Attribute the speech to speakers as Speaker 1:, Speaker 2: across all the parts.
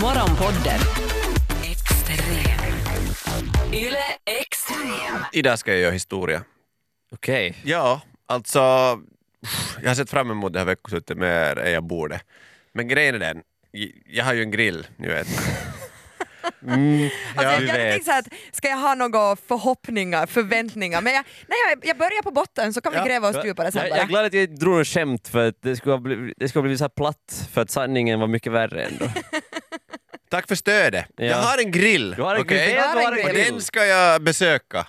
Speaker 1: Morgonpodden. Extrem. Yle Extrem.
Speaker 2: Idag ska jag göra historia.
Speaker 3: Okej.
Speaker 2: Ja, alltså... Jag har sett fram emot det här veckoslutet mer än jag borde. Men grejen är den, j- jag har ju en grill, ni vet. Mm,
Speaker 4: Alltså,
Speaker 2: du
Speaker 4: jag hade tänkt så här att ska jag ha några förhoppningar, förväntningar? Men jag, nej, jag, jag börjar på botten så kan vi
Speaker 2: Ja.
Speaker 4: gräva oss djupare sen
Speaker 3: Jag, jag är
Speaker 4: bara.
Speaker 3: glad att jag drog något skämt för att det skulle ha blivit, det skulle ha blivit så här platt för att sanningen var mycket värre ändå.
Speaker 2: Tack för stödet.
Speaker 3: Ja.
Speaker 2: Jag har en grill,
Speaker 3: Du har en
Speaker 2: okej?
Speaker 3: grill,
Speaker 4: Du har en
Speaker 2: Och
Speaker 4: grill.
Speaker 2: den ska jag besöka.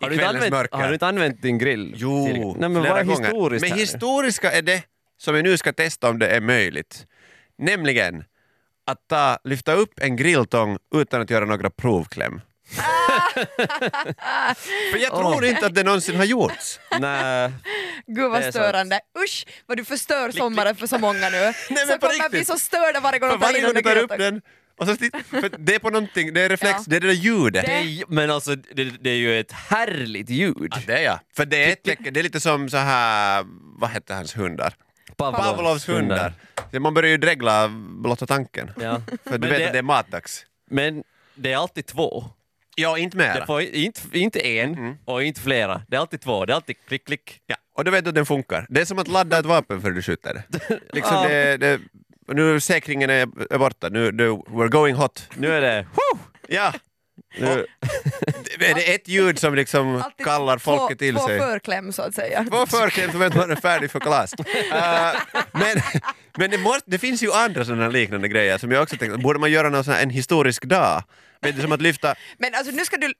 Speaker 3: Har
Speaker 2: I
Speaker 3: du, inte
Speaker 2: kvällens
Speaker 3: använt,
Speaker 2: mörker.
Speaker 3: har du inte använt din grill?
Speaker 2: Jo,
Speaker 3: tidigare? Nej, men vad
Speaker 2: flera
Speaker 3: är
Speaker 2: gånger.
Speaker 3: historiskt
Speaker 2: Men
Speaker 3: här?
Speaker 2: historiska är det som vi nu ska testa om det är möjligt. Nämligen att ta, lyfta upp en grilltång utan att göra några provkläm. För jag tror inte att det någonsin har gjorts.
Speaker 3: Nej,
Speaker 4: Gud
Speaker 3: Det är
Speaker 4: vad störande. Usch vad du förstör sommaren för så många nu.
Speaker 2: men på
Speaker 4: så kommer bli
Speaker 2: riktigt.
Speaker 4: så störda varje gång
Speaker 2: För
Speaker 4: de tar
Speaker 2: varje
Speaker 4: in
Speaker 2: gång du
Speaker 4: under
Speaker 2: tar upp
Speaker 4: gröten.
Speaker 2: den och så, sti- för det är på någonting, det är reflex,
Speaker 4: Ja.
Speaker 2: det är det där ljudet.
Speaker 3: det är, ju- men alltså det, det är ju ett härligt ljud.
Speaker 2: Ja, det är jag. För det är ett tecken, det är lite som så här, vad hette hans hundar? Pavlovs hundar. Man börjar ju dregla av blotta tanken.
Speaker 3: Ja.
Speaker 2: För du
Speaker 3: Men
Speaker 2: vet
Speaker 3: det-
Speaker 2: att det är matdags.
Speaker 3: Men det är alltid två.
Speaker 2: Ja, inte
Speaker 3: Det
Speaker 2: mera.
Speaker 3: får, inte, inte en
Speaker 2: Mm.
Speaker 3: och inte flera. Det är alltid två. Det är alltid klick, klick.
Speaker 2: Ja, och du vet du att den funkar. Det är som att ladda ett vapen för du skjuter det. Liksom
Speaker 3: Ja.
Speaker 2: det, det nu säkringen är, är borta, nu det, we're going hot.
Speaker 3: Nu är det... Woo!
Speaker 2: Ja,
Speaker 3: Nu,
Speaker 2: det är det ett ljud som liksom
Speaker 4: Alltid
Speaker 2: kallar
Speaker 4: två-
Speaker 2: folket till sig.
Speaker 4: Två förkläm så att säga.
Speaker 2: Två förkläm så vet man att man är färdig för kalas. Eh, men men det, måste, det finns ju andra sådana liknande grejer som jag också tänkte, borde man göra någon sån här, en historisk dag? Vet du, som att lyfta,
Speaker 4: Men alltså nu ska du,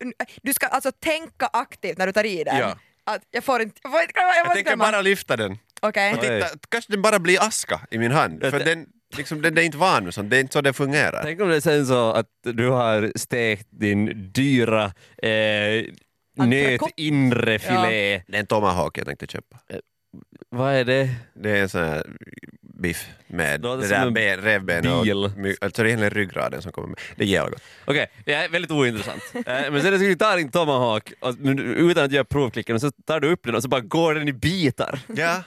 Speaker 4: du ska alltså tänka aktivt när du tar i den.
Speaker 2: Ja.
Speaker 4: Att jag får inte, jag får inte, jag
Speaker 2: jag
Speaker 4: får inte
Speaker 2: tänker
Speaker 4: glömma.
Speaker 2: bara lyfta den.
Speaker 4: Okej.
Speaker 2: Och titta, kanske den bara blir aska i min hand, för
Speaker 3: Vet-
Speaker 2: den, liksom, den, den är inte van med sånt, det är inte så det fungerar.
Speaker 3: tänk om det är sen så att du har stekt din dyra eh, nötinre filé.
Speaker 2: Det är en tomahawk jag tänkte köpa.
Speaker 3: Vad är det?
Speaker 2: Det är en sån här biff med
Speaker 3: Låter
Speaker 2: det
Speaker 3: som
Speaker 2: där
Speaker 3: en
Speaker 2: ben, revben och
Speaker 3: bil.
Speaker 2: my- alltså det är egentligen ryggraden som kommer med. Det ger jag gott.
Speaker 3: Okej, det är väldigt ointressant. Eh, Men sen skulle du ta din tomahawk och, men utan att göra provklicken och så tar du upp den och så bara går den i bitar.
Speaker 2: Ja.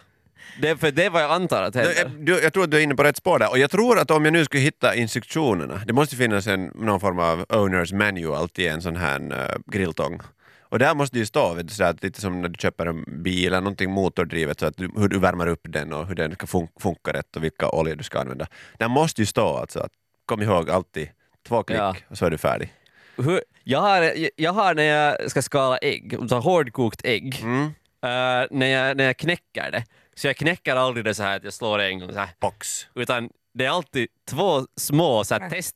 Speaker 3: Det, för det är vad jag antar att
Speaker 2: Du,
Speaker 3: händer.
Speaker 2: eh, du, jag tror att du är inne på rätt spår där och jag tror att om jag nu skulle hitta instruktionerna, det måste finnas en, någon form av owners manual till en sån här eh, grilltång. Och där måste det ju stå, vet du, så att lite som när du köper en bil eller någonting motordrivet, så att du, hur du värmer upp den och hur den ska fun- funka rätt och vilka oljor du ska använda. Där måste ju stå alltså att kom ihåg alltid två klick
Speaker 3: Ja.
Speaker 2: och så är du färdig.
Speaker 3: Hur, jag, har, jag- jag har när jag ska skala ägg, om så här hårdkokt ägg,
Speaker 2: Mm.
Speaker 3: eh, när, jag, när jag knäcker det. Så jag knäcker aldrig det så här att jag slår det en gång så här.
Speaker 2: Box.
Speaker 3: Utan det är alltid två små så här,
Speaker 4: Ja.
Speaker 3: test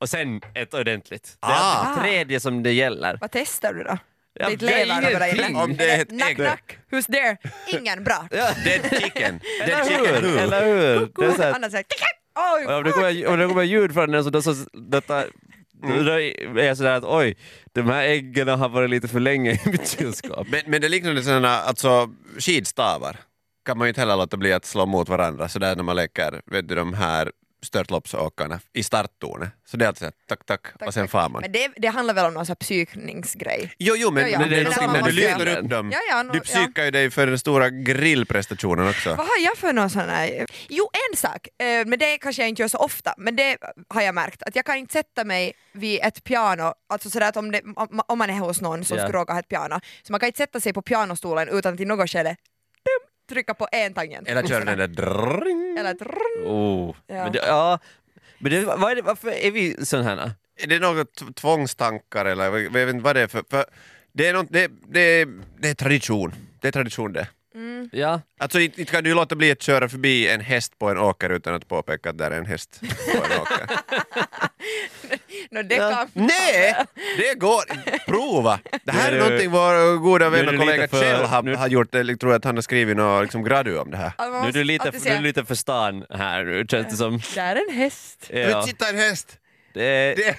Speaker 3: och sen ett ordentligt. Det är
Speaker 2: Ah.
Speaker 3: alltid tredje som det gäller.
Speaker 4: Vad testar du då?
Speaker 3: Jag
Speaker 4: Ditt
Speaker 3: vet
Speaker 4: lever och
Speaker 3: ingenting.
Speaker 4: grejer.
Speaker 2: Om det är ett ägg.
Speaker 4: Knack, knack, who's there? Ingen, bra.
Speaker 2: Dead chicken. Dead
Speaker 3: Eller
Speaker 2: chicken
Speaker 3: hur?
Speaker 2: hur?
Speaker 3: Eller hur? Det är så här,
Speaker 4: Annars säger oj,
Speaker 3: Och Om det kommer, om det kommer ljud från den så då, så, detta, då är jag sådär att oj, de här äggen har varit lite för länge i mitt kylskåp.
Speaker 2: Men, men det liknade sådana, alltså skidstavar kan man ju inte heller låta bli att slå mot varandra sådär när man leker, vet du, de här störtloppsåkarna i starttornet. Så det är alltid såhär tack, tack, och sen far man.
Speaker 4: Men det, det handlar väl om någon sån här psykningsgrej?
Speaker 2: Jo, jo, men,
Speaker 4: Ja, ja,
Speaker 2: men det är
Speaker 4: men
Speaker 2: någonting
Speaker 4: man
Speaker 2: när du
Speaker 4: måste
Speaker 2: lyfter
Speaker 3: göra
Speaker 2: upp
Speaker 3: det.
Speaker 2: dem.
Speaker 4: Ja, ja, no,
Speaker 2: Du psykar ju dig för den stora grillprestationen också.
Speaker 4: Vad har jag för någon sån här... Jo, en sak, eh, men det kanske jag inte gör så ofta, men det har jag märkt att jag kan inte sätta mig vid ett piano, alltså sådär att om, det, om, om man är hos någon som
Speaker 3: Ja.
Speaker 4: skulle råka ha ett piano, så man kan inte sätta sig på pianostolen utan att i något skede dum, trycka på en tangent.
Speaker 2: Eller kör den där drrrring.
Speaker 4: Eller trrrrn.
Speaker 3: Oh.
Speaker 4: Ja.
Speaker 3: Men det, ja. Men det, vad är det, varför är vi sådana här?
Speaker 2: Är det något t- tvångstankar eller vad- jag vet inte vad det är för... för det, är något, det, det, det är tradition. Det är tradition det.
Speaker 4: Mm.
Speaker 3: Ja.
Speaker 2: Alltså inte inte kan du ju låta bli att köra förbi en häst på en åker utan att påpeka att där är en häst på en åker.
Speaker 4: Nå, det
Speaker 3: Ja.
Speaker 4: kan...
Speaker 2: Nej, det går Prova! Det här
Speaker 3: Nu
Speaker 2: är
Speaker 3: är du-
Speaker 2: någonting vår goda
Speaker 3: nu är
Speaker 2: vän
Speaker 3: du
Speaker 2: och
Speaker 3: lite
Speaker 2: kollega
Speaker 3: för-
Speaker 2: Kjell har,
Speaker 3: nu-
Speaker 2: har gjort. Jag tror att han har skrivit någon liksom gradu om det här.
Speaker 4: Alltså, man
Speaker 3: Nu är
Speaker 4: måste-
Speaker 3: du lite,
Speaker 4: att det
Speaker 3: nu är
Speaker 4: ser-
Speaker 3: du lite för stan här nu, känns det som.
Speaker 4: Där är en häst.
Speaker 2: Men
Speaker 3: Ja.
Speaker 2: titta en häst!
Speaker 3: Det,
Speaker 2: Det,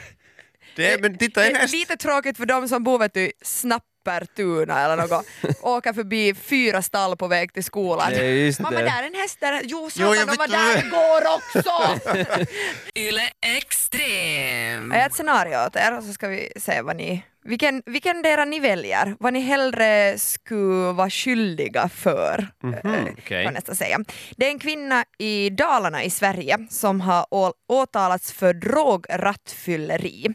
Speaker 2: det, men titta
Speaker 4: Det
Speaker 2: en
Speaker 4: är
Speaker 2: häst!
Speaker 4: lite tråkigt för de som bor vet du, i Snappertuna eller något, åker förbi fyra stall på väg till skolan.
Speaker 3: det är just
Speaker 4: Mamma,
Speaker 3: det.
Speaker 4: där är en häst, där är... Jo,
Speaker 2: Jo, jag
Speaker 4: satan, de
Speaker 2: vet
Speaker 4: var
Speaker 2: inte.
Speaker 4: där igår också!
Speaker 1: Yle Extrem.
Speaker 4: Jag har ett scenario åt er och så ska vi se vad ni Vilken, vilken dera ni väljer, vad ni hellre skulle vara skyldiga för. eh,
Speaker 3: okej.
Speaker 4: kan jag nästan säga. Det är en kvinna i Dalarna i Sverige som har å- åtalats för drograttfylleri.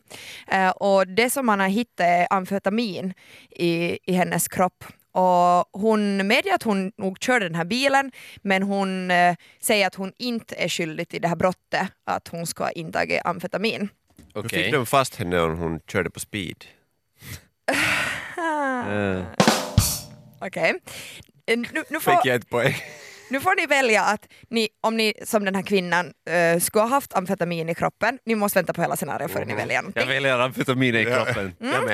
Speaker 4: Eh, och det som man har hittat är amfetamin i, i hennes kropp. Och hon medger att hon nog körde den här bilen men hon eh, säger att hon inte är skyldig till det här brottet, att hon ska ha intagit amfetamin.
Speaker 2: Hur
Speaker 3: Okej.
Speaker 2: fick de fast henne när hon körde på speed?
Speaker 3: Eh,
Speaker 4: Ah, Okej. Eh, Nu, nu får...
Speaker 2: Fick jag ett poäng?
Speaker 4: Nu får ni välja att ni, om ni som den här kvinnan eh, skulle ha haft amfetamin i kroppen, ni måste vänta på hela scenariot före ni väljer
Speaker 3: jag
Speaker 4: någonting.
Speaker 3: väljer amfetamin i kroppen.
Speaker 2: Jag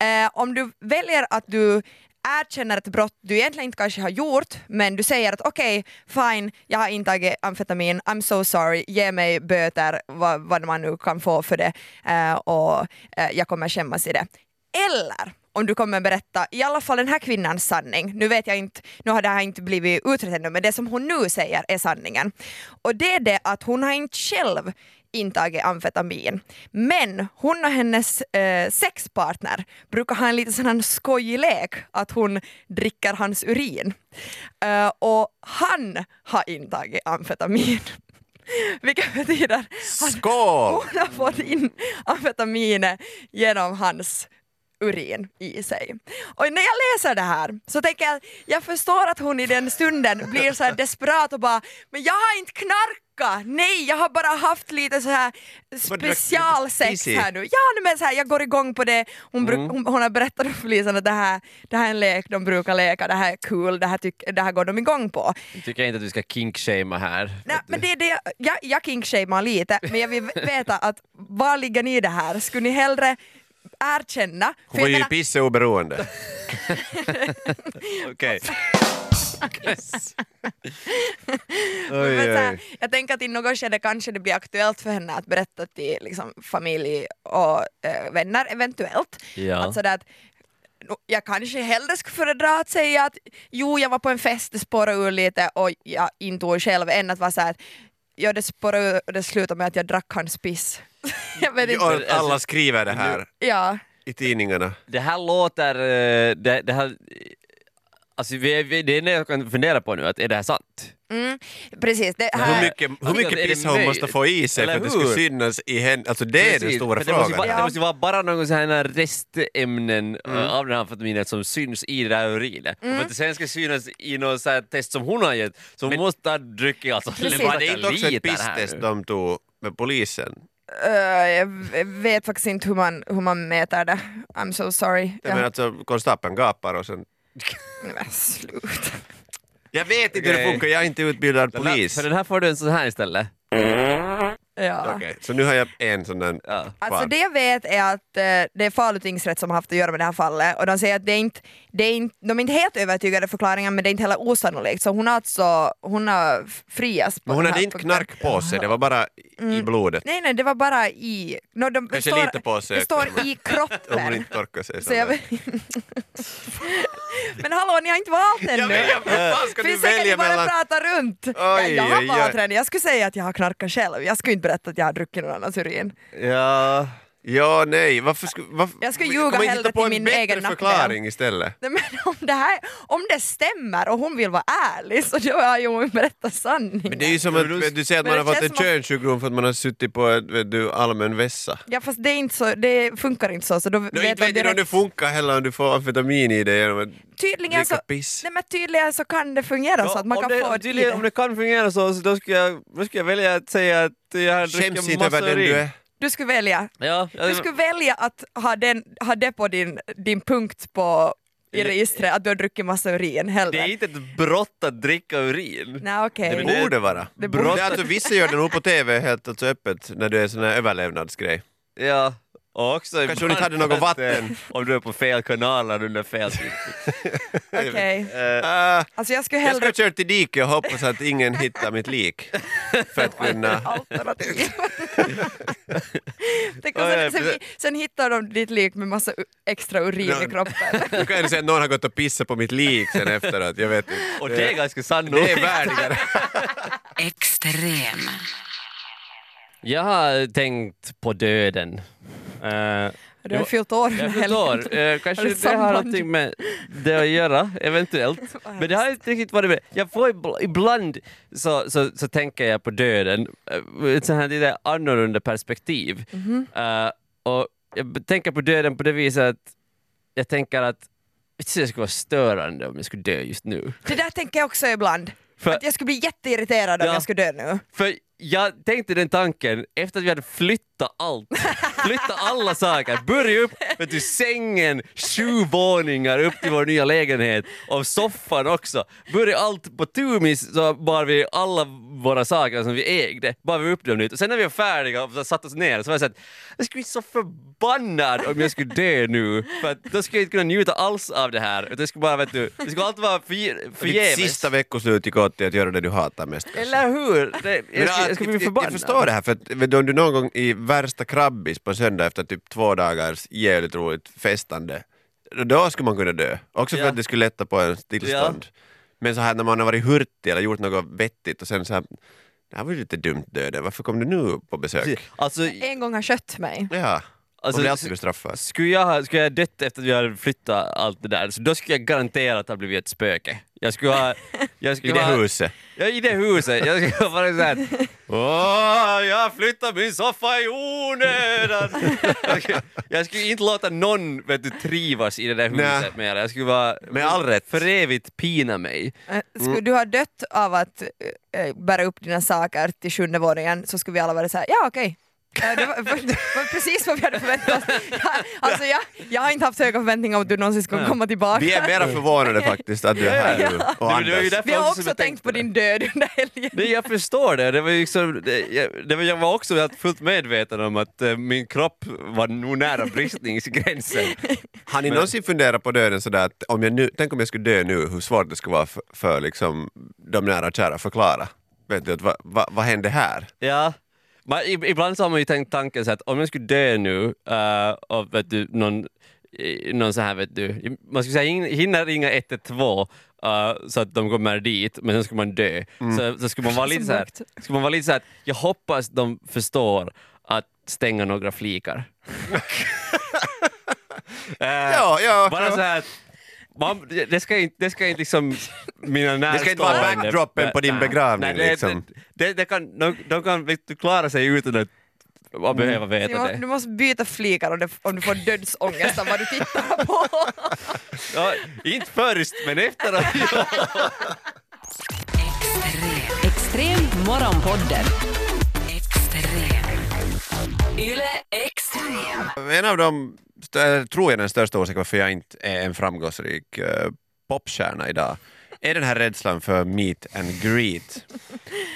Speaker 2: med.
Speaker 4: Eh, om du väljer att du erkänner ett brott du egentligen inte kanske har gjort, men du säger att okej, fine, jag har intagit amfetamin, I'm so sorry, ge mig böter, vad, vad man nu kan få för det, eh, och eh, jag kommer skämmas i det. Eller om du kommer berätta i alla fall den här kvinnans sanning. Nu vet jag inte, nu har det här inte blivit utrett ännu, men det som hon nu säger är sanningen. Och det är det att hon har inte själv intagit amfetamin. Men hon och hennes eh, sexpartner brukar ha en liten sån här skojig lek att hon dricker hans urin. Eh, och han har intagit amfetamin. Vilket betyder att
Speaker 2: Skål!
Speaker 4: hon har fått in amfetaminet genom hans urin i sig. Och när jag läser det här så tänker jag, jag förstår att hon i den stunden blir så här desperat och bara, men jag har inte knarkat, nej jag har bara haft lite så här specialsex
Speaker 2: Easy.
Speaker 4: här nu. Ja men så här, jag går igång på det, hon, bruk, hon, hon har berättat för Lisa att det här, det här är en lek de brukar leka, det här är kul, det här, tyck, det här går de igång på.
Speaker 3: Tycker jag inte att vi ska kinkshamea här.
Speaker 4: Nej, men det är det jag, jag, jag kinkshamar lite, men jag vill veta att var ligger ni i det här? Skulle ni hellre erkänna? För
Speaker 2: Hon var
Speaker 4: jag
Speaker 2: ju
Speaker 4: menar,
Speaker 2: pisseoberoende.
Speaker 3: Okej.
Speaker 4: men
Speaker 3: Oj,
Speaker 4: så här,
Speaker 3: oj.
Speaker 4: jag tänker att i något skede kanske det blir aktuellt för henne att berätta till liksom, familj och eh, vänner eventuellt.
Speaker 3: Ja.
Speaker 4: Att sådär att, nå, jag kanske hellre skulle föredra att säga att jo, jag var på en fest, det spårade ur lite och jag intog själv, än att vara såhär att ja, det spårade ur och det slutade med att jag drack hans piss. jag vet inte.
Speaker 2: Och alla skriver det här
Speaker 4: Ja.
Speaker 2: i tidningarna.
Speaker 3: Det här låter... eh, Det, det, här, alltså, vi, vi, det är det jag kan fundera på nu, att är det här sant?
Speaker 4: Mm, precis. Det
Speaker 2: Hur
Speaker 4: här,
Speaker 2: mycket, hur mycket
Speaker 3: Alltså, Är det
Speaker 2: piss hon måste
Speaker 3: möjligt?
Speaker 2: få i sig för
Speaker 3: Eller
Speaker 2: att det ska
Speaker 3: hur?
Speaker 2: synas i henne? Alltså det är den
Speaker 3: Precis,
Speaker 2: stora
Speaker 3: för det måste ju
Speaker 2: frågan. Mm.
Speaker 3: Vara,
Speaker 4: Ja.
Speaker 3: det måste ju vara bara någon sån här restämnen eh, av den här amfetaminet som syns i det där urinet. Och för att det sen ska synas i något så här test som hon har gett, så hon måste ha druckit alltså...
Speaker 4: Precis.
Speaker 2: Men var det inte också ett
Speaker 3: liter här
Speaker 2: pisstest
Speaker 3: nu.
Speaker 2: de tog med polisen?
Speaker 4: eh, jag v- vet faktiskt inte hur man, hur man mäter det. I'm so sorry.
Speaker 2: Jag menar alltså konstapeln gapar och sen...
Speaker 4: Nej, men sluta.
Speaker 2: Jag vet inte hur det
Speaker 3: Okej.
Speaker 2: funkar, jag är inte utbildad
Speaker 3: Den där-
Speaker 2: polis.
Speaker 3: För den här får du en sån här istället.
Speaker 4: Ja.
Speaker 2: Okej, så nu har jag en sån där
Speaker 3: Ja.
Speaker 4: Alltså
Speaker 2: kvar.
Speaker 4: det jag vet är att eh, det är Falu tingsrätt som har haft att göra med det här fallet och de säger att det är inte, det är inte, de är inte helt övertygade förklaringar men det är inte heller osannolikt så hon har alltså hon har frias på
Speaker 2: Men hon
Speaker 4: den
Speaker 2: hade
Speaker 4: här
Speaker 2: inte
Speaker 4: punkten.
Speaker 2: knark på sig, det var bara i-
Speaker 4: Mm.
Speaker 2: i blodet.
Speaker 4: Nej nej det var bara i... No, de, det
Speaker 2: Kanske
Speaker 4: står-
Speaker 2: lite på sig.
Speaker 4: Det står i
Speaker 2: Om hon
Speaker 4: kroppen.
Speaker 2: inte torkar sig.
Speaker 4: så jag,
Speaker 2: vet.
Speaker 4: men hallå ni har inte valt ännu!
Speaker 2: Jag vet, jag- vad fan ska du
Speaker 4: Finns säkert
Speaker 2: välja
Speaker 4: bara
Speaker 2: mellan...
Speaker 4: prata runt. jag, jag
Speaker 2: oj,
Speaker 4: har
Speaker 2: oj.
Speaker 4: bara tränat. Jag skulle säga att jag har knarkat själv. Jag skulle inte berätta att jag har druckit någon annans urin.
Speaker 2: Ja, ja nej. Varför sku, varför,
Speaker 4: Jag ska
Speaker 2: kan
Speaker 4: ljuga
Speaker 2: man inte
Speaker 4: hellre
Speaker 2: hitta på
Speaker 4: till
Speaker 2: en
Speaker 4: min egen
Speaker 2: bättre
Speaker 4: nackdel.
Speaker 2: förklaring istället?
Speaker 4: Nej, Men om det, här, om det stämmer och hon vill vara ärlig så då har ju hon berättat sanningen.
Speaker 2: Men det är ju som att du säger att
Speaker 4: Men
Speaker 2: man
Speaker 4: det
Speaker 2: har fått
Speaker 4: känns
Speaker 2: en
Speaker 4: som att-
Speaker 2: könssjukdom för att man har suttit på ett, vet du, allmän vässa.
Speaker 4: Ja fast det, är inte så, det funkar inte så så då
Speaker 2: Du
Speaker 4: vet
Speaker 2: vet
Speaker 4: man
Speaker 2: inte om det
Speaker 4: direkt.
Speaker 2: funkar heller om du får amfetamin i dig genom att
Speaker 4: Tydligen så,
Speaker 2: dricka piss.
Speaker 4: nej, men tydligen så kan det fungera så att man
Speaker 3: om,
Speaker 4: kan
Speaker 3: det,
Speaker 4: få
Speaker 3: om,
Speaker 4: ett
Speaker 3: tydligen- om det kan fungera så, så då, ska jag, då ska jag välja att säga att jag har
Speaker 2: Skäms
Speaker 3: druckit
Speaker 2: inte över
Speaker 3: massa
Speaker 2: den du
Speaker 3: urin.
Speaker 2: är.
Speaker 4: Du skulle välja.
Speaker 3: Ja, jag-
Speaker 2: Alltså-
Speaker 4: Du skulle välja att ha, den, ha det på din, din punkt på, i
Speaker 3: Det-
Speaker 4: registret att du har druckit massa urin
Speaker 3: Det är
Speaker 4: hellre.
Speaker 3: inte ett brott att dricka urin.
Speaker 4: Nej okej.
Speaker 3: men
Speaker 2: Det borde vara.
Speaker 4: Det
Speaker 2: Det
Speaker 4: borde-
Speaker 2: är alltså, vissa gör det nog på TV helt alltså öppet när det är sån här överlevnadsgrej.
Speaker 3: Ja. Och också
Speaker 2: Kanske hon inte hade något vatten.
Speaker 3: Om du är på fel kanaler under fel tid.
Speaker 4: Okej.
Speaker 2: Ah,
Speaker 4: Alltså jag skulle
Speaker 2: jag ska
Speaker 4: hellre...
Speaker 2: köra till diket och hoppas att ingen hittar mitt lik. För att kunna...
Speaker 4: alternativ. Tänk om
Speaker 3: Oj,
Speaker 4: sen,
Speaker 3: oj,
Speaker 4: sen,
Speaker 3: precis.
Speaker 4: sen hittar de ditt lik med massa u- extra urin i
Speaker 2: Ja.
Speaker 4: kroppen.
Speaker 2: Nu kan jag säga att någon har gått och pissat på mitt lik sen efteråt, jag vet inte.
Speaker 3: Och det är ganska sannolikt.
Speaker 2: Det är värdigare.
Speaker 1: Extrem.
Speaker 3: Jag har tänkt på döden. Eh,
Speaker 4: Har du
Speaker 3: Jo,
Speaker 4: fyllt år?
Speaker 3: Jag
Speaker 4: den helgen?
Speaker 3: förstår. Eh,
Speaker 4: Har
Speaker 3: kanske
Speaker 4: du
Speaker 3: det har
Speaker 4: samband?
Speaker 3: någonting med det att göra, eventuellt. Men det har inte riktigt varit med. Jag får ibl- ibland så, så, så tänker jag på döden eh, ur ett sånt här lite annorlunda perspektiv.
Speaker 4: Mhm.
Speaker 3: Eh, och jag b- tänker på döden på det viset att jag tänker att jag tror det skulle vara störande om jag skulle dö just nu.
Speaker 4: Det där tänker jag också ibland.
Speaker 3: För-
Speaker 4: Att jag skulle bli jätteirriterad om
Speaker 3: Ja.
Speaker 4: jag skulle dö nu.
Speaker 3: För jag tänkte den tanken efter att vi hade flyttat allt. Flyttat alla saker. Börja upp med till sängen, sju våningar upp till vår nya lägenhet och soffan också. Börja allt på tumis så bar vi alla våra saker som vi ägde, bar vi upp dem nytt. Och sen när vi var färdiga och så satt oss ner så var jag såhär, jag skulle bli så förbannad om jag skulle dö nu. För att då skulle jag inte kunna njuta alls av det här. Utan det skulle bara, vet du, det skulle alltid vara förge-
Speaker 2: Ditt
Speaker 3: förgäves.
Speaker 2: sista veckoslut gick åt till att göra det du hatar mest. kanske.
Speaker 3: Eller hur? Det,
Speaker 2: Men
Speaker 3: jag, skulle, jag skulle bli förbannad.
Speaker 2: Jag förstår det här, för att, vet du, om du någon gång i värsta krabbis på en söndag efter typ två dagars jävligt roligt festande, då- då skulle man kunna dö. Också för
Speaker 3: Ja.
Speaker 2: att det skulle lätta på ens tillstånd. Men så här när man har varit hurtig eller gjort något vettigt och sen så här, det här var ju lite dumt döden, varför kom du nu på besök?
Speaker 3: Alltså,
Speaker 4: En gång har kött mig.
Speaker 2: Ja, man
Speaker 3: Alltså,
Speaker 2: blir alltid
Speaker 3: s-
Speaker 2: bestraffad.
Speaker 3: skulle jag ha skulle jag ha dött efter att vi hade flyttat allt det där, så då skulle jag garanterat ha blivit ett spöke. Jag skulle ha... Jag skulle
Speaker 2: I det
Speaker 3: ha,
Speaker 2: huset.
Speaker 3: Ja, i det huset. Jag skulle ha varit såhär... Åh, jag flyttar min soffa i onödan! Jag skulle, jag skulle inte låta någon vet du, trivas i det där
Speaker 2: Nej.
Speaker 3: huset mer. Jag skulle vara...
Speaker 2: Med all rätt.
Speaker 3: För evigt pina mig.
Speaker 4: Eh, Skulle du ha dött av att eh, bära upp dina saker till sjunde våningen så skulle vi alla varit såhär, ja okej. Eh, Det var, det var precis vad vi hade förväntat oss. Jag, alltså jag, jag har inte haft höga förväntningar om att du någonsin skulle
Speaker 3: Nej.
Speaker 4: komma tillbaka.
Speaker 2: Vi är mera förvånade faktiskt att du är här nu och
Speaker 3: Det var ju
Speaker 2: andas.
Speaker 3: därför
Speaker 4: Vi har
Speaker 3: som
Speaker 4: också
Speaker 3: jag
Speaker 4: tänkt
Speaker 3: tänkte
Speaker 4: på
Speaker 3: det.
Speaker 4: din död under helgen.
Speaker 3: Nej, jag förstår det. det, var ju liksom, det, jag, det var, jag var också helt fullt medveten om att eh, min kropp var nog nära bristningsgränsen.
Speaker 2: Har ni någonsin funderat på döden sådär att om jag nu, tänk om jag skulle dö nu, hur svårt det skulle vara för, för liksom, de nära och kära att förklara? Vet du, att va, va, vad hände här?
Speaker 3: Ja. Man, i- ibland så har man ju tänkt tanken så att om jag skulle dö nu eh, och vet du, någon, eh, någon så här vet du, man skulle säga hin- hinna ringa 112 eh, så att de kommer dit, men sen skulle man dö. Så, så skulle man vara lite så här,
Speaker 4: mörkt.
Speaker 3: skulle man vara lite så här, att jag hoppas de förstår att stänga några flikar. Eh,
Speaker 2: Ja, ja.
Speaker 3: Bara så här, att man, det ska inte, det ska inte liksom mina närstående...
Speaker 2: Det ska inte vara backdroppen på din
Speaker 3: Nej.
Speaker 2: begravning,
Speaker 3: det,
Speaker 2: liksom.
Speaker 3: det, det, det kan, de, de kan vet du, klara sig utan att man behöver
Speaker 4: Du,
Speaker 3: veta
Speaker 4: må,
Speaker 3: det.
Speaker 4: du måste byta flikar om du, om du får dödsångest av vad du tittar på.
Speaker 3: Ja, inte först, men efteråt. Ja.
Speaker 1: Extrem. Extrem morgonpodden. Extrem. Yle Extrem.
Speaker 2: En av de, stö- tror jag den största orsaken varför jag inte är en framgångsrik eh, popstjärna idag, är den här rädslan för meet and greet.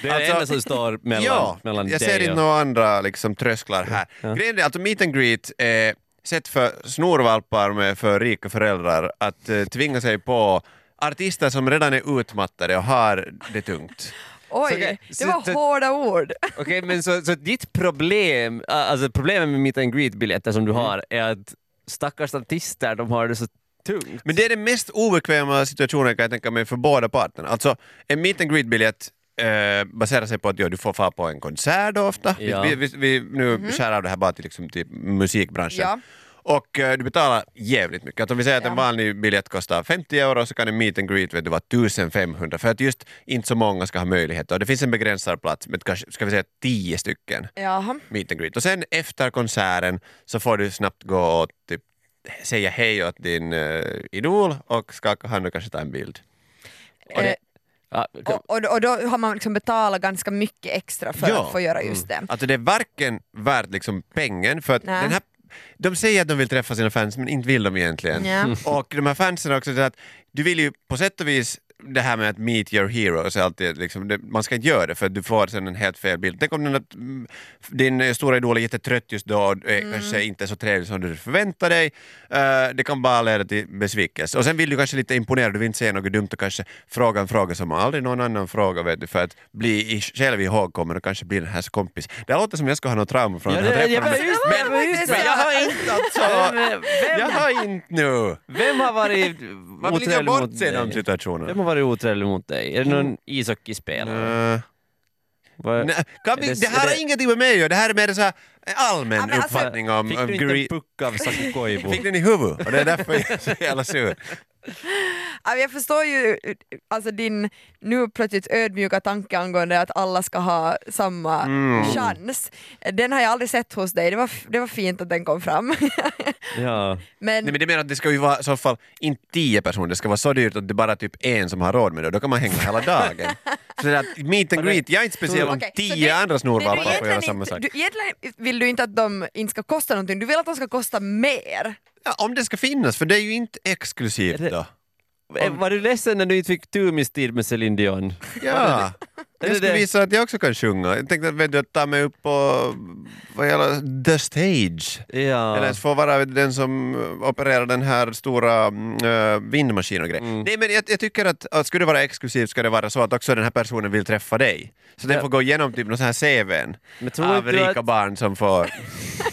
Speaker 3: Det är det
Speaker 2: Alltså,
Speaker 3: enda som står mellan,
Speaker 2: ja,
Speaker 3: mellan
Speaker 2: jag
Speaker 3: dig
Speaker 2: ser inte
Speaker 3: och-
Speaker 2: några andra liksom, trösklar här. Grejen är att meet and greet är sätt för snorvalpar med för rika föräldrar att eh, tvinga sig på artister som redan är utmattade och har det tungt.
Speaker 4: Oj,
Speaker 3: Så okej,
Speaker 4: det
Speaker 3: så
Speaker 4: var
Speaker 3: det-
Speaker 4: hårda ord.
Speaker 3: Okej, men så, så ditt problem, äh, alltså problemet med meet and greet-biljetter som du
Speaker 2: Mm.
Speaker 3: har är att stackars artister, de har det så tungt.
Speaker 2: Men det är den mest obekväma situationen kan jag tänka mig för båda parterna. Alltså en meet and greet-biljett eh, baserar sig på att ja, du får fara på en konsert då ofta.
Speaker 3: Ja.
Speaker 2: Vi, vi, vi, nu skär av det här bara till, liksom, till musikbranschen.
Speaker 4: Mhm. Ja.
Speaker 2: Och eh, du betalar jävligt mycket. Att om vi säger att en
Speaker 4: Ja.
Speaker 2: vanlig biljett kostar 50 euro så kan en meet and greet vet du, vara 1500 för att just inte så många ska ha möjlighet. Och det finns en begränsad plats med kanske, ska vi säga 10 stycken
Speaker 4: Jaha.
Speaker 2: meet and greet. Och sen efter konserten så får du snabbt gå och typ säga hej åt din eh, idol och skaka hand och kanske ta en bild.
Speaker 3: Och det-
Speaker 4: Eh,
Speaker 3: Ja, kom.
Speaker 4: Och, och, då- och då har man liksom betalat ganska mycket extra för
Speaker 2: Ja.
Speaker 4: att få göra just det.
Speaker 2: Alltså det är varken värt liksom pengen för att
Speaker 4: Nej.
Speaker 2: den här de säger att de vill träffa sina fans men inte vill de egentligen. Mm.
Speaker 4: Ja.
Speaker 2: Och de här fansen också, så att du vill ju på sätt och vis det här med att meet your heroes är alltid liksom, det, man ska inte göra det för du får sen en helt fel bild. Tänk om den att, mm, din eh, stora idol är jättetrött just då och är kanske inte så trevlig som du förväntar dig. Eh, det kan bara leda till besvikelse. Och sen vill du kanske lite imponera, du vill inte säga något dumt och kanske fråga en fråga som aldrig någon annan frågar vet du, för att bli i, själv ihågkommen och kanske bli den här kompis. Det här låter som jag ska ha något trauma från
Speaker 3: Ja,
Speaker 2: den här
Speaker 3: det- jag
Speaker 2: träffen.
Speaker 3: bara- just det,
Speaker 2: men,
Speaker 4: det var just
Speaker 2: men
Speaker 4: det.
Speaker 2: jag har inte alltså...
Speaker 3: Vem- vem-
Speaker 2: Jag har inte nu!
Speaker 3: Vem har varit
Speaker 2: Man vill inte
Speaker 3: otrevlig
Speaker 2: bort
Speaker 3: mot
Speaker 2: sig i de
Speaker 3: dig? Vem
Speaker 2: situationerna.
Speaker 3: har varit otrevlig mot dig? Är det
Speaker 2: Mm.
Speaker 3: någon ishockeyspelare?
Speaker 2: Eh,
Speaker 3: Vad-
Speaker 2: nej, kan vi,
Speaker 3: är
Speaker 2: det här
Speaker 3: Mm. är
Speaker 2: har ingenting med mig att göra, det här är mer så här, En allmän
Speaker 4: Ja, men alltså-
Speaker 2: uppfattning om,
Speaker 3: Fick
Speaker 2: om
Speaker 3: du inte
Speaker 2: um, gre-
Speaker 3: en puck av Saki Koivu?
Speaker 2: Fick den i huvudet och det är därför jag är så jävla sur.
Speaker 4: Alltså, jag förstår ju eh, alltså, din nu plötsligt ödmjuka tanke angående att alla ska ha samma chans. Den har jag aldrig sett hos dig, det var, f- det var fint att den kom fram.
Speaker 3: Ja.
Speaker 4: men,
Speaker 2: Nej men det menar att det ska ju vara i så fall inte tio personer, det ska vara så dyrt att det bara är typ en som har råd med det och då kan man hänga hela dagen. Så det att meet and greet, jag är inte speciell om
Speaker 4: Okej, så
Speaker 2: tio
Speaker 4: det-
Speaker 2: andra
Speaker 4: det
Speaker 2: snorvalpar
Speaker 4: du
Speaker 2: får göra
Speaker 4: egentligen
Speaker 2: samma sak.
Speaker 4: inte- Du, egentligen vill du inte att de inte ska kosta någonting, du vill att de ska kosta mer.
Speaker 2: Ja, om det ska finnas, för det är ju inte exklusivt
Speaker 3: Är det-
Speaker 2: då.
Speaker 3: Eh, Var du ledsen när du inte fick Tumis tid med Céline Dion?
Speaker 2: Ja.
Speaker 3: det
Speaker 2: Jag skulle
Speaker 3: det?
Speaker 2: visa att jag också kan sjunga. Jag tänkte att vet du, att ta mig upp på vad gäller the stage.
Speaker 3: Ja.
Speaker 2: Eller ens få vara den som opererar den här stora mm, äh, vindmaskinen och
Speaker 3: Mm.
Speaker 2: grejer. Nej men jag, jag tycker att, att skulle det vara exklusivt ska det vara så att också den här personen vill träffa dig. Så den
Speaker 3: Ja.
Speaker 2: får gå igenom typ någon sån här CVn
Speaker 3: Men tror
Speaker 2: av
Speaker 3: inte du
Speaker 2: rika
Speaker 3: att-
Speaker 2: barn som får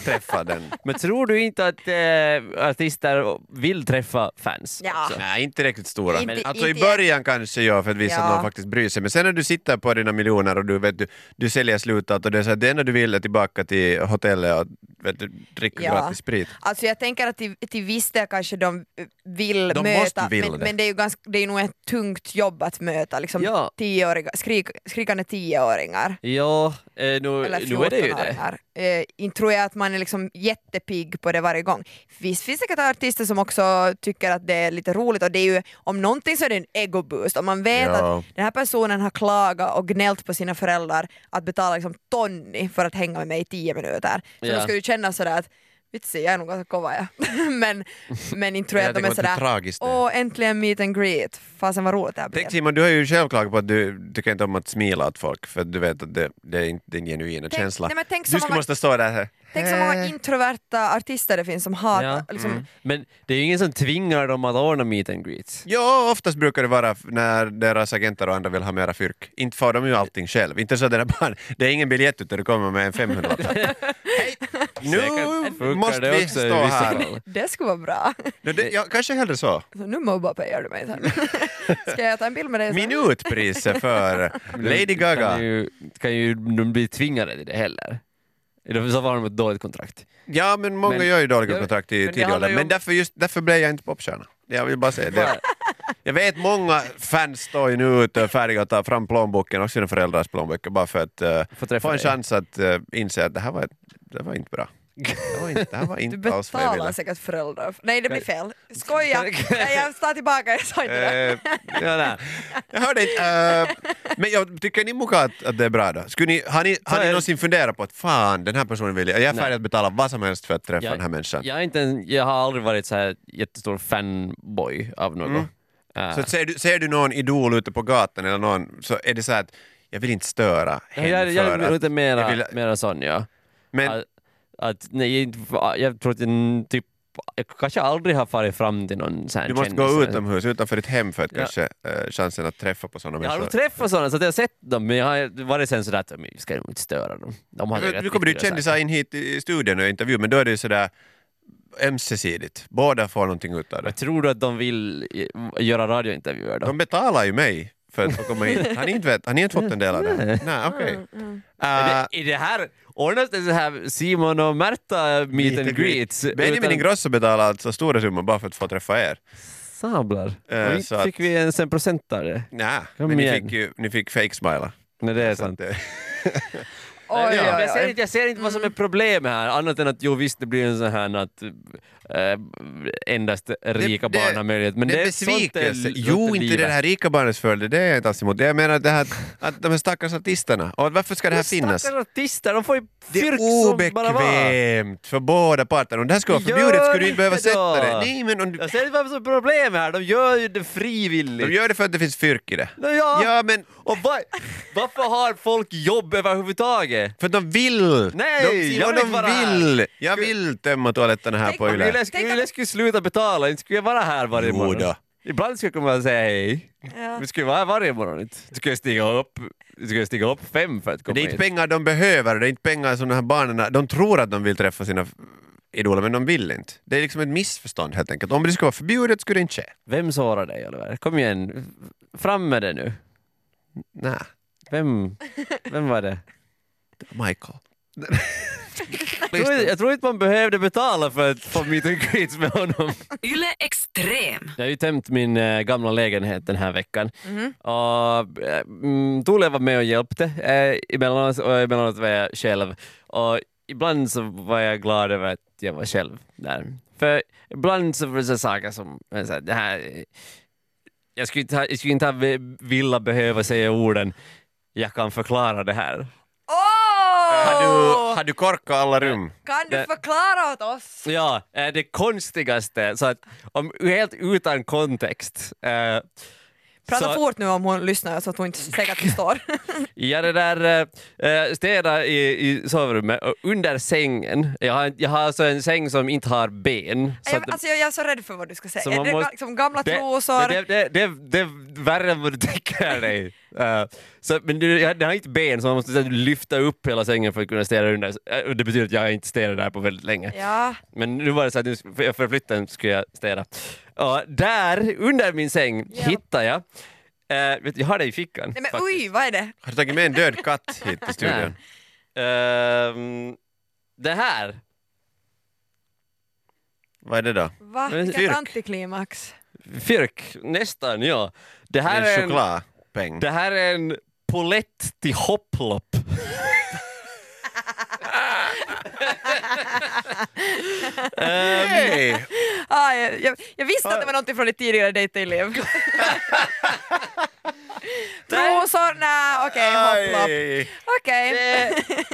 Speaker 2: träffa den.
Speaker 3: Men tror du inte att eh, artister vill träffa fans?
Speaker 4: Ja.
Speaker 3: också?
Speaker 2: Nej, inte riktigt stora.
Speaker 4: Inte-
Speaker 2: alltså
Speaker 4: inte
Speaker 2: i början kanske ja, för att visa
Speaker 4: Ja.
Speaker 2: att någon faktiskt bryr sig. Men sen när du sitter på dina miljoner och du, vet, du, du säljer slutat och det är så här, det enda du vill är tillbaka till hotellet och vet, du, dricka
Speaker 4: Ja.
Speaker 2: gratis sprit.
Speaker 4: Alltså jag tänker att till, till viss del kanske de eh, vill
Speaker 2: De
Speaker 4: möta,
Speaker 2: måste vilja
Speaker 4: men,
Speaker 2: det.
Speaker 4: men det är ju ganska, det är nog ett tungt jobb att möta liksom
Speaker 3: Ja.
Speaker 4: tioåriga, skrik, skrikande tioåringar.
Speaker 3: Ja, eh, nu,
Speaker 4: Eller
Speaker 3: nu är det ju det.
Speaker 4: 14-åringar. Eh, inte tror jag att man är liksom jättepigg på det varje gång. Visst finns det säkert artister som också tycker att det är lite roligt och det är ju, om någonting så är det en egoboost. Om man vet
Speaker 2: Ja.
Speaker 4: att den här personen har klagat och gnällt på sina föräldrar att betala liksom Tonni för att hänga med mig i tio minuter. Så
Speaker 3: Ja.
Speaker 4: då ska du känna sådär att vitsi, jag är nog ganska kova ja. men, men inte tror jag att de är
Speaker 2: tänker att det är
Speaker 4: sådär
Speaker 2: tragiskt. det.
Speaker 4: åh äntligen meet and greet, fasen vad roligt det här blir.
Speaker 2: Tänk Simon, du har ju själv klagat på att du tycker inte om att smila åt folk för att du vet att det, det är inte din genuina
Speaker 4: Tänk-
Speaker 2: känsla.
Speaker 4: nej, men tänk så
Speaker 2: du skulle
Speaker 4: många-
Speaker 2: måste stå där här. Eh.
Speaker 4: Tänk så många introverta artister det finns som hatar,
Speaker 3: Eh. Ja. mm.
Speaker 4: liksom,
Speaker 3: Men det är ju ingen som tvingar dem att ordna meet and greets.
Speaker 2: Ja, oftast brukar det vara f- när deras agenter och andra vill ha mera fyrk. Inte får de ju allting själv. Inte så att den här barn, det är ingen biljett utan du kommer med en 500 Hej!
Speaker 3: Säkert
Speaker 2: Nu
Speaker 3: funkar
Speaker 2: måste
Speaker 3: det
Speaker 2: vi
Speaker 3: också i
Speaker 2: stå
Speaker 3: vissa
Speaker 2: här.
Speaker 3: fall.
Speaker 4: det skulle vara bra.
Speaker 2: No, det, ja, kanske hellre så.
Speaker 4: Så nu mobbar du mig sen. Ska jag ta en bild med dig sen?
Speaker 2: Minutpriset för Lady Gaga.
Speaker 3: Kan ju, kan ju de bli tvingade till det heller. Eller Så har de ett dåligt kontrakt.
Speaker 2: Ja, men många
Speaker 3: Men-
Speaker 2: gör ju dåliga
Speaker 3: Ja,
Speaker 2: kontrakt i
Speaker 3: men det
Speaker 2: tidig
Speaker 3: handlar
Speaker 2: ålder.
Speaker 3: ju
Speaker 2: Men
Speaker 3: om-
Speaker 2: därför, just, därför blev jag inte popstjärna. Jag vill bara säga det.
Speaker 3: Bara-
Speaker 2: Jag vet många fans står ju nu ute och är färdiga att ta fram plånboken och sina föräldrars plånböcker bara för att eh,
Speaker 3: Få träffa
Speaker 2: få en
Speaker 3: dig.
Speaker 2: chans att eh, inse att det här var, det var inte bra. Det, var inte, det här var
Speaker 4: Du
Speaker 2: inte alls vad jag
Speaker 4: betalar
Speaker 2: ville.
Speaker 4: säkert föräldrar. Nej det blir fel. Skoja! Nej, jag tar tillbaka, jag sa inte det.
Speaker 2: Eh,
Speaker 3: Ja, nej.
Speaker 2: jag hörde inte. eh, men jag, tycker ni Moka att, att det är bra då? Skulle ni, har ni, har
Speaker 3: Så är
Speaker 2: ni
Speaker 3: det.
Speaker 2: någonsin funderat på att fan, den här personen vill jag, jag är färdig att betala vad som helst för att träffa
Speaker 3: Jag-
Speaker 2: den här människan?
Speaker 3: Jag, är inte en, jag har aldrig varit så här jättestor fanboy av något. Äh,
Speaker 2: Mm. Så att ser, du, ser du någon idol ute på gatan eller någon, så är det så här att jag vill inte störa
Speaker 3: jag,
Speaker 2: henne
Speaker 3: jag,
Speaker 2: för
Speaker 3: är
Speaker 2: att...
Speaker 3: lite mera,
Speaker 2: jag vill-
Speaker 3: mera sån, ja.
Speaker 2: men,
Speaker 3: Att, att, nej, inte- jag tror att jag, typ, jag kanske aldrig har farit fram till någon sån här
Speaker 2: du måste gå
Speaker 3: kändis.
Speaker 2: utomhus, utanför ditt hem för att
Speaker 3: Ja.
Speaker 2: kanske eh, chansen att träffa på sådana
Speaker 3: Jag har nog
Speaker 2: människor.
Speaker 3: träffat sådana, så att jag har sett dem, men jag har varit sen sådär att "Men vi ska nog inte störa dem. De har
Speaker 2: Nu
Speaker 3: rätt
Speaker 2: kommer det ju
Speaker 3: viktiga
Speaker 2: kändisar
Speaker 3: saker."
Speaker 2: in hit i studion och intervju, men då är det ju sådär ömsesidigt. Båda får någonting ut av det.
Speaker 3: Men tror du att de vill i- göra radiointervjuer då?
Speaker 2: De betalar ju mig för att få komma in. Har ni inte, vet, har ni inte fått en del av det? här? Nej, okej.
Speaker 3: Mm. är,
Speaker 2: Eh,
Speaker 3: det, är det här, ordnas det så här Simon och Märta meet and greets?
Speaker 2: Benjamin Ingrosso betalar alltså stora summor bara för att få träffa er.
Speaker 3: Sablar.
Speaker 2: Eh,
Speaker 3: Och
Speaker 2: så
Speaker 3: inte
Speaker 2: att-
Speaker 3: fick vi ens en procentare.
Speaker 2: Nej,
Speaker 3: Kom
Speaker 2: men ni
Speaker 3: igen.
Speaker 2: fick, ju, ni fick fake-smila.
Speaker 3: Nej, det är sant.
Speaker 4: Oj,
Speaker 3: Nej, men
Speaker 4: oj,
Speaker 3: jag, ser
Speaker 4: oj.
Speaker 3: inte, jag ser inte vad som är problemet här, annat än att jo visst det blir en sån här att eh, endast rika
Speaker 2: det-
Speaker 3: barn har möjlighet. Men det,
Speaker 2: det är
Speaker 3: är sånt eh, är
Speaker 2: besvikelse. Jo, inte det här rika barnets följder, det är jag inte alls emot. Det Jag menar det här, att de här stackars artisterna, och varför ska det här finnas?
Speaker 3: Stackars artister, de får ju
Speaker 2: Det är
Speaker 3: fyrk som bara var.
Speaker 2: obekvämt för båda parter. Om det här skulle vara
Speaker 3: Gör
Speaker 2: förbjudet skulle du inte
Speaker 3: inte
Speaker 2: behöva
Speaker 3: då.
Speaker 2: sätta det. Nej, men om du,
Speaker 3: Jag ser inte vad som är problemet här, de gör ju det
Speaker 2: de
Speaker 3: frivilligt.
Speaker 2: gör det för att det finns fyrk i det.
Speaker 3: ja.
Speaker 2: Ja, men
Speaker 3: Och va, varför har folk jobb överhuvudtaget?
Speaker 2: för att de vill!
Speaker 3: Nej,
Speaker 2: de, Simon,
Speaker 3: jag vill
Speaker 2: de
Speaker 3: vara här.
Speaker 2: vill! Jag vill tömma toaletterna här
Speaker 4: Tänk
Speaker 2: på
Speaker 4: om
Speaker 2: Yle.
Speaker 3: Yle skulle, Yle skulle sluta betala, inte skulle jag vara här varje
Speaker 2: Jo
Speaker 3: morgon.
Speaker 2: då.
Speaker 3: Ibland skulle jag komma och säga hej.
Speaker 4: Ja.
Speaker 3: Men skulle jag vara här varje morgon inte? Skulle jag stiga upp, skulle jag stiga upp fem för att komma
Speaker 2: Det är inte
Speaker 3: hit?
Speaker 2: pengar de behöver, det är inte pengar som de här barnen... De tror att de vill träffa sina idoler, men de vill inte. Det är liksom ett missförstånd helt enkelt. Om det skulle vara förbjudet skulle det inte ske.
Speaker 3: Vem sårar dig Oliver? Kom igen, fram med det nu.
Speaker 2: Nej.
Speaker 3: Vem, vem var det?
Speaker 2: Michael.
Speaker 3: Jag tror- Jag tror inte man behövde betala för att få meet and greets med honom.
Speaker 1: Yle Extrem.
Speaker 3: Jag har ju tömt min eh, gamla lägenhet den här veckan.
Speaker 4: Mhm.
Speaker 3: Och, eh, mm, Tule var med och hjälpte eh, emellanåt och emellanåt var jag själv. Och ibland så var jag glad över att jag var själv där. För ibland så var det så saker som, eh, så här, det här, eh, jag skulle inte, ha- jag skulle inte ha ve- vilja behöva säga orden jag kan förklara det här.
Speaker 2: Har du,
Speaker 4: Åh!
Speaker 2: har du korkat alla rum?
Speaker 4: Kan du
Speaker 3: det-
Speaker 4: förklara åt oss?
Speaker 3: Ja, eh, det konstigaste, så att, om, helt utan kontext. eh,
Speaker 4: Prata
Speaker 3: så-
Speaker 4: fort nu om hon lyssnar så att hon inte säkert förstår.
Speaker 3: Ja, det där eh, eh, städa i, i sovrummet och under sängen. Jag har, jag har alltså en säng som inte har ben. så
Speaker 4: jag,
Speaker 3: att-
Speaker 4: alltså, jag, jag är så rädd för vad du ska säga.
Speaker 3: Så
Speaker 4: Är
Speaker 3: man
Speaker 4: det
Speaker 3: måste-
Speaker 4: liksom gamla
Speaker 3: det,
Speaker 4: trosor?
Speaker 3: Det, det, det, det är värre än vad du tänker dig. Eh, så, men du, jag, den har inte ben så man måste så här, lyfta upp hela sängen för att kunna städa under. Eh, och Det betyder att jag inte städat där på väldigt länge.
Speaker 4: Ja.
Speaker 3: Men nu var det så att nu sk- för jag- för flytten skulle jag städa. Ja, där under min säng
Speaker 4: Ja.
Speaker 3: hittar jag, eh, vet, du, jag har det i fickan.
Speaker 4: Nej men
Speaker 3: faktiskt.
Speaker 4: oj, vad är det?
Speaker 2: Har du tagit med en död katt hit till studion?
Speaker 3: Ehm, det här.
Speaker 2: Vad är det då?
Speaker 4: Va?
Speaker 3: Men-
Speaker 4: Vilket
Speaker 2: Fyrk.
Speaker 4: antiklimax.
Speaker 3: Fyrk, nästan ja. Det
Speaker 2: Det
Speaker 3: här
Speaker 2: är
Speaker 3: är
Speaker 2: en
Speaker 3: en,
Speaker 2: chokladpeng.
Speaker 3: det här är en polett till hopplopp.
Speaker 2: Hej!
Speaker 4: Ah, jag, jag, jag visste att det var något från ditt tidigare dejtingliv. Trosor? Nej, okej, hopplopp.
Speaker 2: Aj.
Speaker 4: Okej.
Speaker 3: Det-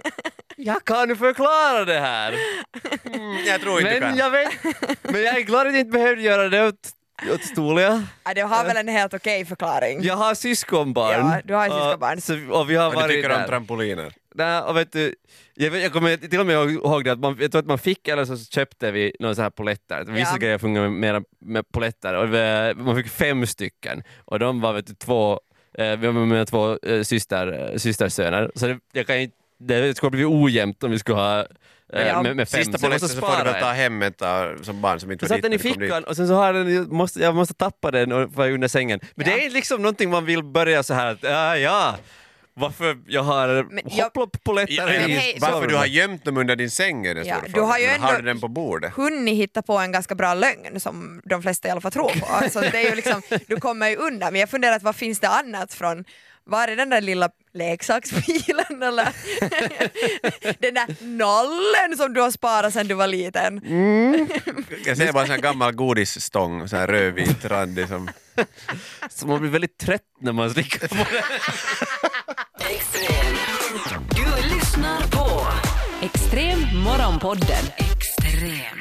Speaker 3: Jag kan förklara det här.
Speaker 2: Mm, Jag tror inte du
Speaker 3: Men
Speaker 2: kan.
Speaker 3: jag, vet, men jag är glad att jag inte behövde göra det åt, åt Stolia.
Speaker 4: Ja, Det har väl en helt okej förklaring.
Speaker 3: Jag har syskonbarn.
Speaker 4: Ja, du har
Speaker 3: Och-
Speaker 4: syskonbarn.
Speaker 3: så- Och vi har
Speaker 2: Och du
Speaker 3: varit
Speaker 2: tycker om
Speaker 3: där.
Speaker 2: trampoliner?
Speaker 3: Nej, och vet du, jag, vet- jag kommer till och med ihåg- ihåg det att man, jag tror att man fick eller så köpte vi några så här poletter. Vissa
Speaker 4: Ja.
Speaker 3: grejer fungerar med, med, med poletter och det, man fick fem stycken och de var vet du, två, eh, vi var med mina två eh, syster, eh, systersöner. Så det, jag kan inte, det skulle bli ojämnt om vi skulle ha eh,
Speaker 4: Ja.
Speaker 3: med, med fem.
Speaker 2: Sista
Speaker 3: så
Speaker 2: poletten
Speaker 3: jag måste
Speaker 2: så får du
Speaker 3: spara
Speaker 2: väl ta
Speaker 3: en.
Speaker 2: hem ett av- som barn som inte
Speaker 3: Jag
Speaker 2: var
Speaker 3: satte
Speaker 2: dit
Speaker 3: den
Speaker 2: när
Speaker 3: i
Speaker 2: du kom dit.
Speaker 3: fickan och sen så har den, jag måste, jag måste tappa den och vara under sängen. Men
Speaker 4: Ja.
Speaker 3: det är liksom någonting man vill börja så här att, ja, ja. Varför jag har
Speaker 4: Men jag-
Speaker 3: hopplopp-poletter
Speaker 2: Ja,
Speaker 4: Men
Speaker 3: i
Speaker 4: hej,
Speaker 2: varför
Speaker 3: sovrummet.
Speaker 2: du har gömt dem under din säng är den
Speaker 4: Ja,
Speaker 2: stora
Speaker 4: du
Speaker 2: frågan.
Speaker 4: har ju
Speaker 2: Men
Speaker 4: ändå-
Speaker 2: du den på bordet?
Speaker 4: hunnit hitta på en ganska bra lögn som de flesta i alla fall tror på. Alltså, det är ju liksom, du kommer ju undan. Men jag funderar, att vad finns det annat från var är den där lilla leksaksbilen eller den där nollen som du har sparat sedan du var liten?
Speaker 2: Jag ser bara en sån här gammal godisstång, sån här rödvit randig som...
Speaker 3: Så man blir väldigt trött när man slickar på det.
Speaker 1: Extrem. Du lyssnar på Extrem Morgonpodden. Extrem.